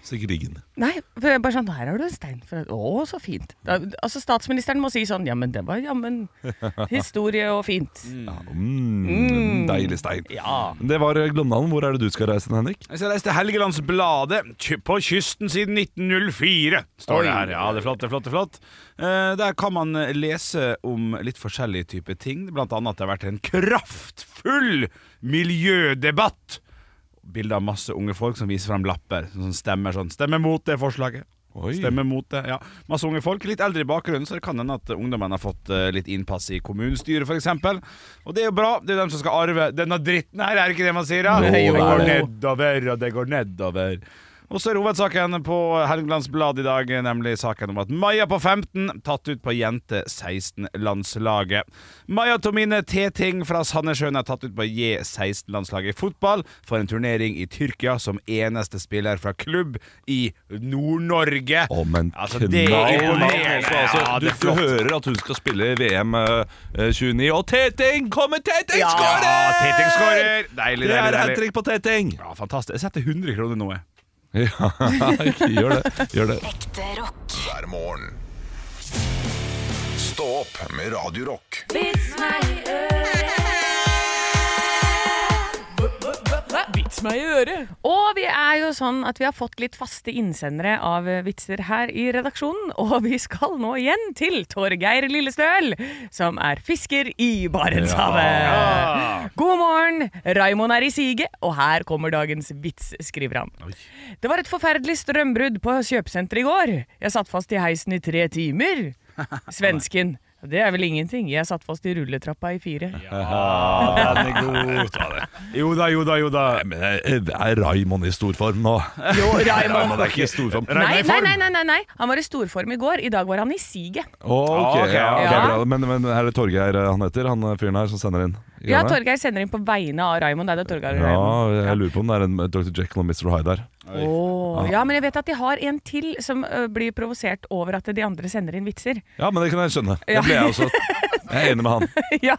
G: Sikkert diggen.
H: Nei, for jeg er bare sånn, her har du en stein. fra- Å, så fint. Da, altså Statsministeren må si sånn, ja, men det var jammen historie og fint.
G: Mm, deilig stein. Det var eh, Glåmdalen. Hvor er det du skal reise, Henrik?
F: Jeg skal reise til Helgelandsbladet, ky- på kysten siden 1904, står det
G: Oi.
F: her. Ja, det er flott, det er flott, det er flott. Eh, Der kan man eh, lese om litt forskjellige typer ting, blant annet at det har vært en kraftfull miljødebatt. Bilder av masse unge folk som viser frem lapper, som stemmer sånn. Stemmer mot det forslaget. Stemmer mot det, ja Masse unge folk, litt eldre i bakgrunnen Så det kan hende at ungdommen har fått eh, litt innpass i kommunestyret for eksempel Og det er jo bra, det er jo dem som skal arve Denne dritten her, er det ikke det man sier da?
G: Jo,
F: det
G: det er
F: går
G: det.
F: nedover, og det går nedover og så er hovedsaken på Helgelands Blad i dag, nemlig saken om at Maja på 15 tatt ut på Jente-16-landslaget. Maja Tomine Teting fra Sandnessjøen er tatt ut på J16-landslaget i fotball for en turnering i Tyrkia som eneste spiller fra klubb i Nord-Norge. altså, det er
G: Knall,
F: imponerende.
G: altså, altså,
F: Ja,
G: du,
F: det er
G: du
F: flott.
G: hører at hun skal spille i VM eh, eh, 29, og Teting kommer! Teting
F: Ja,
G: skårer!
F: Teting skårer! Deilig, deilig.
G: Det er
F: deilig.
G: hat trick på Teting!
F: Ja, fantastisk. Jeg setter 100 kroner nå, jeg.
G: Ja, gjør det. Gjør det.
D: Hver morgen. Stå opp med Radio Rock.
I: Vits meg i
H: Vits meg i øret! Og vi er jo sånn at vi har fått litt faste innsendere av eh, vitser her i redaksjonen, og vi skal nå igjen til Torgeir Lillestøl, som er fisker i Barentshavet.
I: Ja.
H: God morgen! Raimond er i siget, og her kommer dagens vits, skriver han. Det var et forferdelig strømbrudd på kjøpesenteret i går. Jeg satt fast i heisen i tre timer. Svensken. Det er vel ingenting. Jeg satt fast i rulletrappa i fire.
F: Ja, den er god. Jo da, jo da, jo da.
G: Men eh, er Raymond i storform nå?
H: Jo, Raymond.
G: er ikke i storform.
H: Nei, nei, nei, nei, nei, nei. Han var i storform i går. I dag var han i siget.
G: Ok,
F: Ok,
G: ja, ok,
H: ja.
G: bra. Men, men er det Torgeir eh, han heter, han eh, fyren her som sender inn?
H: Ja,
G: Gjerne?
H: Torgeir sender inn på vegne av Raymond. Det er det Torgeir og
G: Ja,
H: Raymond.
G: jeg lurer på om det er en eh, Dr. Jekyll og Mr. Hyde der.
H: Åh,
G: Ah.
H: ja, men jeg vet at de har en til som ø, blir provosert over at de andre sender inn vitser.
G: Ja, men det kan jeg skjønne.
H: Ja.
G: Det ble jeg også. Jeg er enig med han.
H: ja,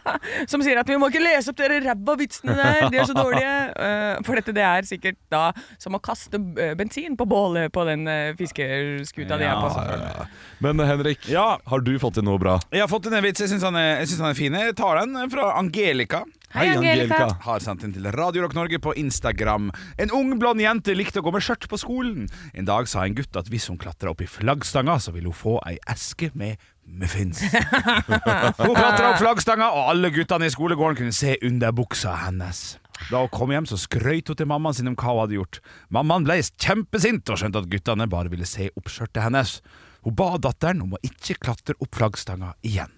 H: Som sier at vi må ikke lese opp dere ræva vitsene der, de er så dårlige. Eh, for dette det er sikkert da som å kaste ø, bensin på bålet på den ø, fiskeskuta de er på.
G: Ja, ja, ja. Men eh, Henrik, har du fått inn noe bra?
F: Jeg har fått inn en vits. Jeg syns han, er- jeg synes han er fin. Jeg tar den fra Angelica.
H: Hei, Angelica.
F: Har sendt inn til Radio Rock Norge på Instagram. En ung, blond jente likte å gå med skjørt på skolen. En dag sa en gutt at hvis hun klatra opp i flaggstanga, så ville hun få ei eske med muffins. hun klatra opp flaggstanga, og alle guttene i skolegården kunne se underbuksa hennes. Da hun kom hjem, så skrøyt hun til mammaen sin om hva hun hadde gjort. Mammaen ble kjempesint og skjønte at guttene bare ville se opp skjørtet hennes. Hun ba datteren om å ikke klatre opp flaggstanga igjen.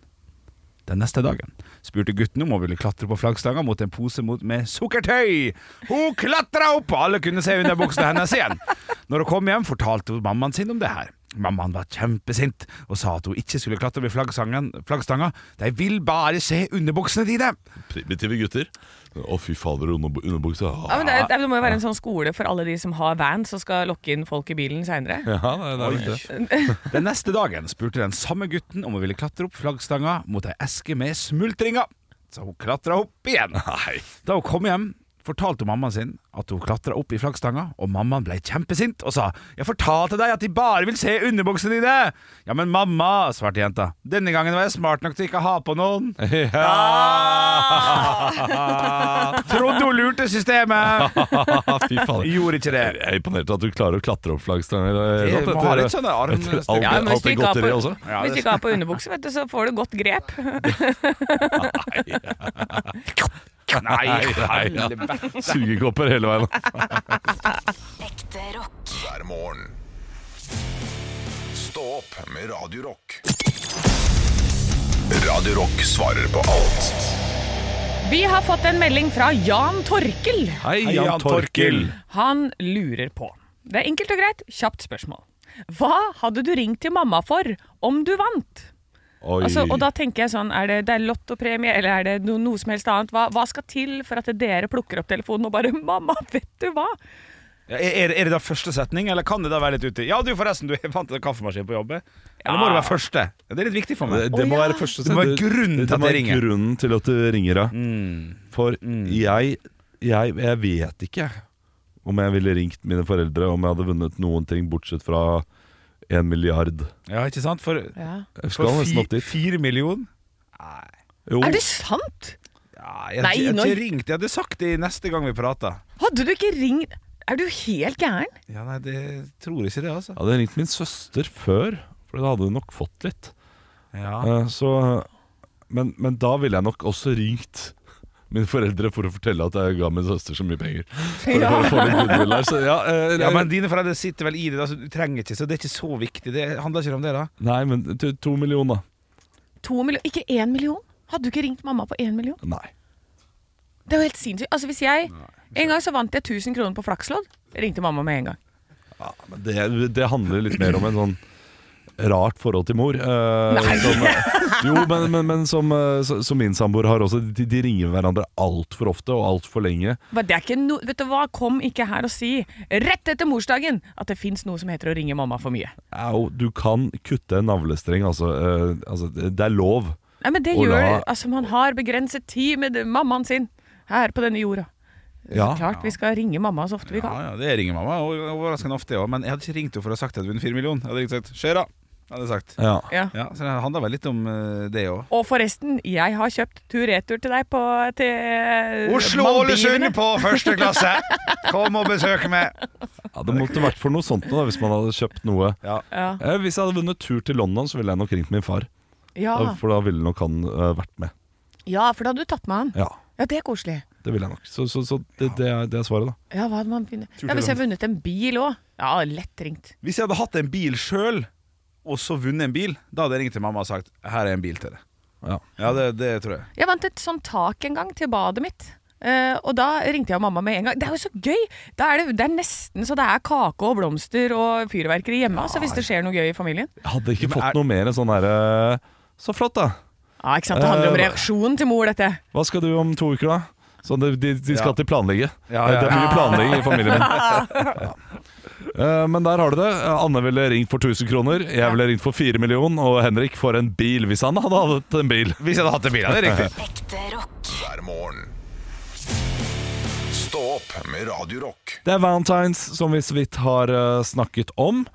F: Den neste dagen spurte gutten om hun ville klatre på flaggstanga mot en pose mot, med sukkertøy. Hun klatra opp, og alle kunne se underbuksene hennes igjen. Når hun kom hjem, fortalte hun mammaen sin om det her. Mammaen var kjempesint og sa at hun ikke skulle klatre over flaggstangen- flaggstanga. De vil bare se underbuksene dine!
G: Primitive gutter. Å, fy fader, under- underbuksa.
H: Ja, men det, er- det må jo være en sånn skole for alle de som har van, som skal lokke inn folk i bilen seinere.
G: Ja, det er
F: Oi. Den neste dagen spurte den samme gutten om hun ville klatre opp flaggstanga mot ei eske med smultringer. Så hun klatra opp igjen. Da hun kom hjem, fortalte hun mammaen sin at hun klatra opp i flaggstanga, og mammaen ble kjempesint og sa 'Jeg fortalte deg at de bare vil se underbuksene dine'. 'Ja, men mamma', svarte jenta. 'Denne gangen var jeg smart nok til ikke å ha på noen'.
G: Ah!
F: Trodde hun lurte systemet.
G: Fy faen.
F: Gjorde ikke det.
G: Jeg er imponert at du klarer å klatre opp flaggstangen. eh,
F: Det-
G: Rolf,
F: man har
G: etter-
F: litt sånn- sånne arm-
G: etter alt,
F: Ja,
G: det-
F: men hvis
G: alt
F: du
G: det
F: ikke har
G: godteriet
F: på-
G: også.
F: Ja,
H: Hvis du
F: det-
H: ikke har på underbukse, vet du, så får du godt grep.
G: Nei, nei, ja.
D: helvete.
G: Sugekopper hele veien.
D: Ekte rock. Hver morgen. Stå opp med Radio Rock. Radio Rock svarer på alt.
H: Vi har fått en melding fra Jan Torkel.
G: Hei, Jan Jan Torkel. Torkel.
H: Han lurer på. Det er enkelt og greit, kjapt spørsmål. Hva hadde du ringt til mamma for om du vant?
G: Oi.
H: Altså, og da tenker jeg sånn, er det, det er lottopremie, eller er det no, noe som helst annet? Hva, hva skal til for at dere plukker opp telefonen og bare 'mamma, vet du hva'?
F: Ja, Er, er det da første setning, eller kan det da være litt uti? Ja, du forresten, du fant en kaffemaskin på jobbet. Eller må det være første? Ja, det er litt viktig for meg.
G: Det, det må være første
F: Det må være
G: sending.
F: grunnen til
G: Det må
F: at jeg
G: være
F: ringer. Mm.
G: grunnen til at du ringer, ja. For jeg, jeg Jeg vet ikke om jeg ville ringt mine foreldre om jeg hadde vunnet noen ting, bortsett fra en milliard.
F: Ja, ikke sant? For,
H: Ja.
G: Jeg skal
F: for
G: nesten
F: fi,
G: opp dit.
F: fire millioner?
G: Jo.
H: Er det sant?
F: Ja, jeg,
H: Nei,
F: jeg, jeg,
H: nå-
F: jeg ringte, jeg hadde sagt det neste gang vi prata.
H: Hadde du ikke ringt Er du helt gæren?
F: Ja, nei, det tror ikke det, altså.
G: Jeg hadde ringt min søster før, for da hadde hun nok fått litt. Eh, Så, men, men da ville jeg nok også ringt mine foreldre for å fortelle at jeg ga min søster så mye penger. For, å få- få litt goodwill her, så ja, eh,
F: Ja, men dine foreldre sitter vel i det, da, så du trenger ikke, så det er ikke så viktig. Det handler ikke om det, da.
G: Nei, men to, to millioner.
H: To million, ikke én million? Hadde du ikke ringt mamma på én million?
G: Nei.
H: Det er jo helt sinnssykt. Altså, hvis jeg En gang så vant jeg 1000 kroner på flakslodd. Ringte mamma med en gang.
G: Men det, det handler litt mer om en sånn rart forhold til mor. eh,
H: Nei.
G: som, jo, men, men, men som, eh, så- som min samboer har også. De, de ringer hverandre altfor ofte og altfor lenge.
H: Men det er ikke no, vet du hva, kom ikke her og si rett etter morsdagen at det fins noe som heter å ringe mamma for mye.
G: Au, du kan kutte en navlestreng, altså. eh, altså det det er lov.
H: Nei, men det
G: Å
H: gjør
G: la-
H: Altså, man har begrenset tid med mammaen sin her på denne jorda.
G: Ja.
H: Klart vi skal ringe mamma så ofte vi kan.
F: Ja, det ringer mamma, og- og overraskende ofte òg. Men jeg hadde ikke ringt henne for å ha sagt at jeg hadde vunnet 4 millioner. Jeg hadde ringt og sagt 'Skjer'a', hadde jeg sagt.
G: Ja.
H: Ja.
F: så det handler vel litt om eh, det òg.
H: Og forresten, jeg har kjøpt tur-retur til deg på til Maldivene.
F: Oslo-Ålesund på første klasse! Kom og besøk meg!
G: Ja, det måtte vært for noe sånt nå, da, hvis man hadde kjøpt noe.
H: Ja.
G: Eh, Hvis jeg hadde vunnet tur til London, så ville jeg nok ringt min far.
H: Ja.
G: Da- For da ville nok han eh, vært med.
H: ja, for da hadde du tatt med han.
G: Ja,
H: Ja, det er koselig.
G: det ville jeg nok. Så, så, så det, det, er, det er svaret, da.
H: Ja, hva hadde man begynt?
F: Tur
H: ja,
F: til
H: Hvis jeg hadde vunnet en bil òg. Ja, lett ringt.
F: Hvis jeg hadde hatt en bil sjøl, og så vunnet en bil, da hadde jeg ringt til mamma og sagt 'Her er en bil til deg'.
G: Ja,
F: det, det tror jeg.
H: Jeg vant et sånt tak en gang til badet mitt. Eh, og da ringte jeg mamma med en gang. Det er jo så gøy! Da er det, det er nesten så det er kake og blomster og fyrverkeri hjemme. altså, hvis det skjer noe gøy i familien.
G: Jeg hadde ikke fått noe mer enn sånn herre Så flott, da.
H: Ja, ikke sant? Det handler om
G: Eh,
H: reaksjonen til mor, dette.
G: Hva skal du om to uker, da? Så de, de, de
F: Ja.
G: skal til planlegge. Eh,
F: Ja, ja, ja.
G: Det er mye planlegging i familien min. Eh, Men der har du det. Anne ville ringt for 1000 kroner, jeg ville ringt for 4 millioner, og Henrik for en bil, hvis han hadde hatt en bil.
F: Hvis jeg hadde hatt en bil, ja, det er riktig.
D: Ekte rock. Hver morgen. Stå opp med Radio Rock.
G: Det er Valentine's som vi så vidt har eh, snakket om.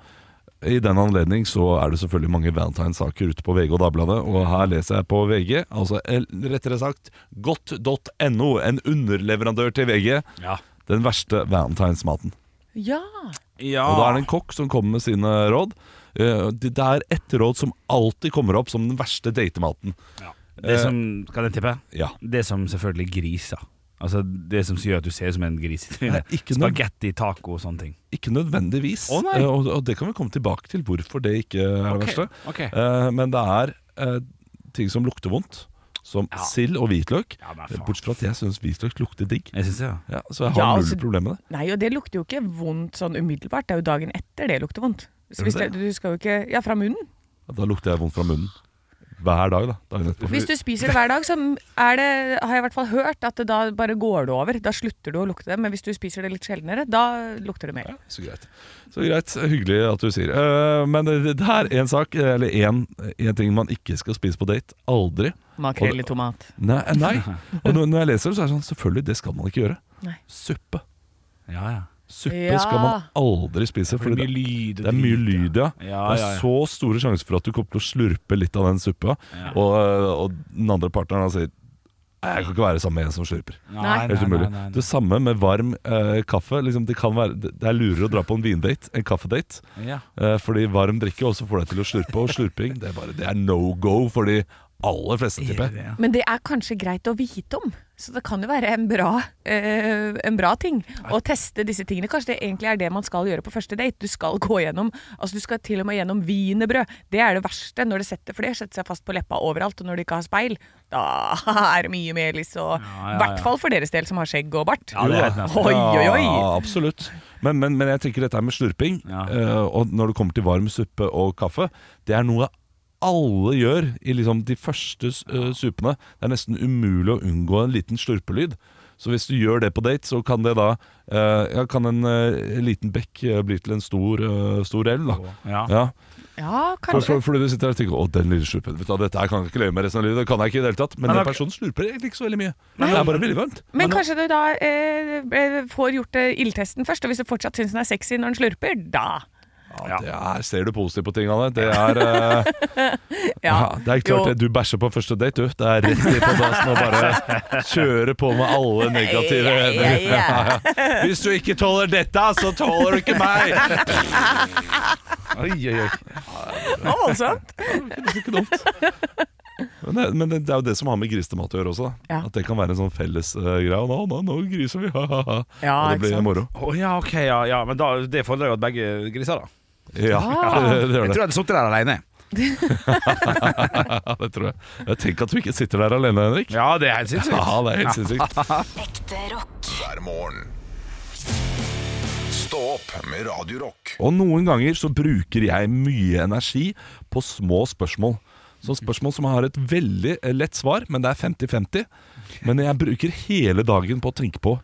G: I den anledning så er det selvfølgelig mange valentinesaker ute på VG og Dagbladet, og her leser jeg på VG, altså el- rettere sagt godt.no, en underleverandør til VG, den verste valentinesmaten.
H: Ja.
G: Og da er det en kokk som kommer med sine råd. Eh, Det det er ett råd som alltid kommer opp som den verste datematen.
F: Det som, kan jeg tippe?
G: Ja.
F: Det som selvfølgelig griser. Altså Det som gjør at du ser ut som en gris i
G: Nei,
F: trynet.
G: ikke noe-
F: Spagetti, taco og sånne ting.
G: Ikke nødvendigvis.
F: Å, nei.
G: Eh, og, og det kan vi komme tilbake til hvorfor det ikke er
F: Ok,
G: det verste.
F: ok.
G: Eh, men det er eh, ting som lukter vondt. Som sild og hvitløk. Eh, bortsett fra at jeg syns hvitløk lukter digg. Ja, så jeg har
H: Ja,
G: null
H: altså-
G: problem med det.
H: Nei, og det lukter jo ikke vondt sånn umiddelbart. Det er jo dagen etter det lukter vondt. Så
G: Gjør
H: hvis det,
G: det det?
H: du skal jo ikke Ja, fra munnen.
G: Da lukter jeg vondt fra munnen. Hver dag, da. Dagen etterpå.
H: Hvis du spiser det hver dag, så er det, har jeg i hvert fall hørt at det da bare går det over. Da slutter du å lukte det. Men hvis du spiser det litt sjeldnere, da lukter det mer.
G: Så greit. Så greit, hyggelig at du sier. Eh, men det, det er én sak, eller én én ting man ikke skal spise på date. Aldri.
H: Makrell i
G: Og-
H: tomat.
G: Nei. eh, nei. Og når, når jeg leser det, så er det sånn Selvfølgelig, det skal man ikke gjøre.
H: Nei.
G: Suppe.
F: Ja, ja.
G: Suppe
F: Ja.
G: skal man aldri
F: Ja,
G: spise.
F: for det
G: fordi
F: blir lyd og
G: det er mye lyd, ja.
F: Ja,
G: Det
F: ja,
G: er
F: ja.
G: så store sjanser for at du kommer til å slurpe litt av den suppa,
F: Ja.
G: og, og den andre partneren han sier Nei, jeg kan ikke være sammen med en som slurper.
F: Nei. Nei,
G: Helt
F: nei,
G: umulig.
F: nei, nei.
G: Det samme med varm eh, kaffe. Liksom, det, kan være, det det er lurere å dra på en vindate enn kaffedate.
F: Ja.
G: Eh, fordi varm drikke også får deg til å slurpe, og slurping det er, bare, det er no go for de aller fleste, tipper jeg.
H: Men det er kanskje greit å vite om. Så det kan jo være en bra, eh, en bra ting å teste disse tingene. Kanskje det egentlig er det man skal gjøre på første date. Du skal gå gjennom altså du skal til og med gjennom wienerbrød. Det er det verste når det setter, for det setter seg fast på leppa overalt. Og når du ikke har speil, da er det mye mer lyst. Og i
G: ja,
H: hvert
G: ja.
H: fall for deres del som har skjegg og bart.
G: Jo da.
H: oi, oi, oi.
G: Ja, absolutt. Men, men, men jeg tenker dette her med slurping, eh, og når det kommer til varm suppe og kaffe, det er noe alle gjør i liksom de første eh, suppene. Det er nesten umulig å unngå en liten slurpelyd. Så hvis du gjør det på date, så kan det da eh, ja, Kan en eh, liten bekk eh, bli til en stor, eh, stor elv, da.
F: Ja.
H: Ja,
G: For,
H: kanskje.
G: for, fordi du sitter der og tenker 'Å, den lille slurpen vet du, hva, Dette her kan jeg ikke leve med resten av livet. Det kan jeg ikke i det hele tatt. Men
F: Men
G: den
F: da-
G: personen slurper egentlig ikke så veldig mye.
H: Nei.
G: Det er bare veldig varmt.
H: Men kanskje du da eh, eh, får gjort eh, ildtesten først, og hvis du fortsatt syns den er sexy når den slurper, da
G: Ja, det er, ser du positivt på ting, Anne. Det er, eh, ja, det er
H: Jo.
G: klart det. Du bæsjer på første date, du. Det er rett i på dassen og bare kjøre på med alle negative
L: Ja, ja, ja.
G: Ja, ja. Hvis du ikke tåler dette, så tåler du ikke meg! Oi, oi, oi.
H: Voldsomt.
G: Men, det, men det er jo det som har med grisemat å gjøre også. Da.
H: Ja.
G: At det kan være en sånn felles eh, greie. Nå, nå, nå griser vi, ha-ha-ha.
F: Ja,
G: og det blir moro.
F: Å ja, ok, ja, ja. Men da, det fordrer jo at begge griser, da.
G: Ja, det, det gjør
F: Jeg tror jeg
G: det.
F: hadde sittet der alene.
G: det tror jeg. jeg. Tenk at du ikke sitter der alene, Henrik.
F: Ja, det er helt sinnssykt.
G: Ja, det er helt sinnssykt.
M: Ekte rock. Hver morgen. Stå opp med Radio Rock.
G: Og noen ganger så bruker jeg mye energi på små spørsmål. Så spørsmål som har et veldig eh, lett svar, men det er 50-50. Men jeg bruker hele dagen på å tenke på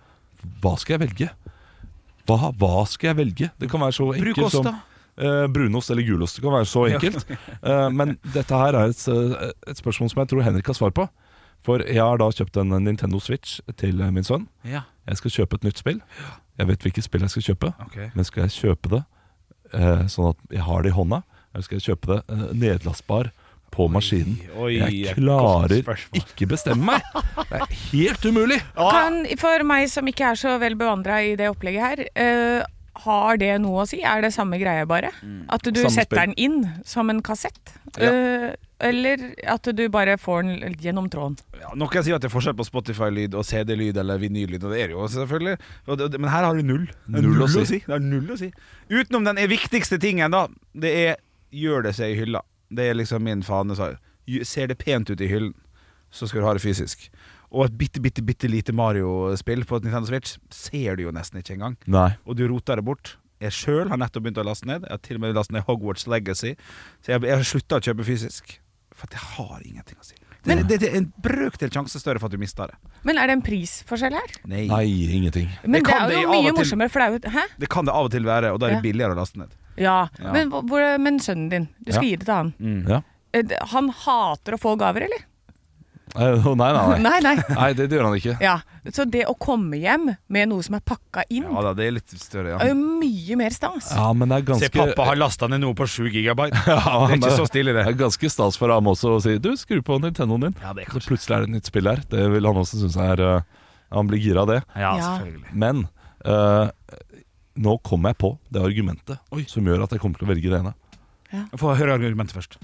G: hva skal jeg velge? Hva, hva skal jeg velge? Det kan være så enkelt
F: ost,
G: som
F: da.
G: eh, brunost eller gulost. Det kan være så
F: Ja.
G: enkelt. Eh, men dette her er et, eh, et spørsmål som jeg tror Henrik har svar på. For jeg har da kjøpt en Nintendo Switch til eh, min sønn.
F: Ja.
G: Jeg skal kjøpe et nytt spill. Jeg vet hvilket spill jeg skal kjøpe,
F: Ok.
G: men skal jeg kjøpe det eh, sånn at jeg har det i hånda, eller skal jeg kjøpe det eh, nedlastbar på maskinen?
F: oi,
G: jeg
F: et godt
G: klarer
F: spørsmål.
G: ikke bestemme meg! Det er helt umulig!
H: Kan, for meg som ikke er så vel bevandra i det opplegget her, eh, har det noe å si? Er det samme greie, bare? At du
G: Samme
H: setter
G: spill.
H: den inn som en kassett?
F: Ja.
H: Eh, eller at du bare får den gjennom tråden?
F: Ja, Noen sier at det er forskjell på Spotify-lyd og CD-lyd eller vinyllyd, og det er det jo selvfølgelig. Og det- Men her har du null. Det er
G: Null å si.
F: Det er null å si. Utenom den viktigste tingen, da. Det er gjør det seg i hylla. Det er liksom min fane. sa jeg. Ser det pent ut i hyllen, så skal du ha det fysisk. Og et bitte, bitte, bitte lite Mario-spill på et Nintendo Switch ser du jo nesten ikke engang.
G: Nei.
F: Og du roter det bort. Jeg sjøl har nettopp begynt å laste ned. Jeg har til og med lastet ned Hogwarts Legacy. Så jeg jeg har slutta å kjøpe fysisk. For at jeg har ingenting å si. Det, det, det er en brøkdel sjanse større for at du mister det.
H: Men er det en prisforskjell her?
F: Nei,
G: ingenting.
H: Men det,
F: kan
H: er jo
F: av og
H: mye
F: til-
H: morsommere, for det er jo Hæ?
F: Det kan det av og til være, og da er det
H: Ja.
F: billigere å laste ned.
H: Ja.
F: Ja.
H: Men, hvor-
F: Mm.
G: Mm.
H: hvor, men sønnen din, du skal gi det til han.
G: Ja.
H: Eh, Han hater å få gaver, eller?
G: Eh, nei, nei, nei.
H: Nei, nei.
G: det, det gjør han ikke.
H: Ja, Så det å komme hjem med noe som er pakka inn,
G: Ja da, det er litt større,
H: er jo mye mer stas.
G: Ja, men det er ganske...
F: Se, pappa har lasta ned noe på 7 gigabyte.
G: Ja,
F: det er
G: men
F: ikke så stille, det.
G: er ganske stas for ham også å si Du, skru på Nintendoen din. så plutselig er det et nytt spill her. Det vil han også synes er eh, Han blir gira av det.
F: Ja, Ja. selvfølgelig.
G: Men eh, nå kom jeg på det argumentet som gjør at jeg kommer til å velge det ene.
F: Få høre argumentet først.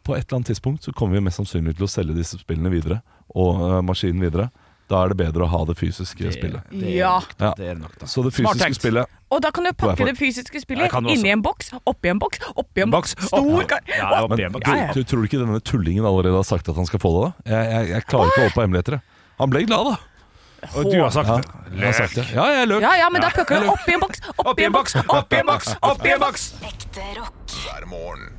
G: På et eller annet tidspunkt så kommer vi mest sannsynlig til å selge disse spillene videre, og eh, maskinen videre. Da er det bedre å ha det fysiske spillet.
H: det er Ja. nok
G: Ja. Så det
F: Smart
G: fysiske
F: tenkt.
G: spillet
H: Og da kan du
G: Hvorfor?
H: pakke det fysiske
G: Ja,
H: spillet
G: det kan du også.
H: inni en boks, oppi en boks, oppi en boks. Stor kar...
G: Ja, men
H: Opp-
G: du, du, tror du ikke denne tullingen allerede har sagt at han skal få det? da? Jeg, jeg, jeg klarer ikke å holde på hemmeligheter. jeg. Han ble glad, da.
F: Og du har sagt
G: ja,
F: det.
G: Jeg har sagt det. Ja, jeg er løk.
H: Ja, ja, men da
G: Ja.
H: plukker
G: Jeg er
H: du
G: løk.
H: oppi en boks, oppi en boks, oppi en boks, oppi en boks!
D: Ekte rock. Hver morgen.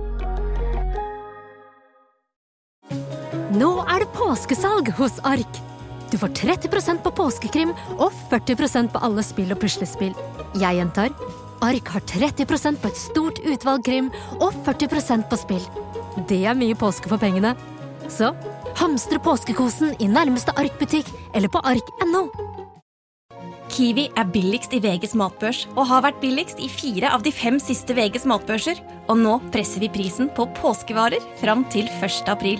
A: Nå er det påskesalg hos Ark. Du får 30 på påskekrim og 40 på alle spill og puslespill. Jeg gjentar Ark har 30 på et stort utvalg krim og 40 på spill. Det er mye påske for pengene. Så hamstre påskekosen i nærmeste Ark-butikk eller på ark.no.
N: Kiwi er billigst i VGs matbørs og har vært billigst i fire av de fem siste VGs matbørser. Og nå presser vi prisen på påskevarer fram til 1. april.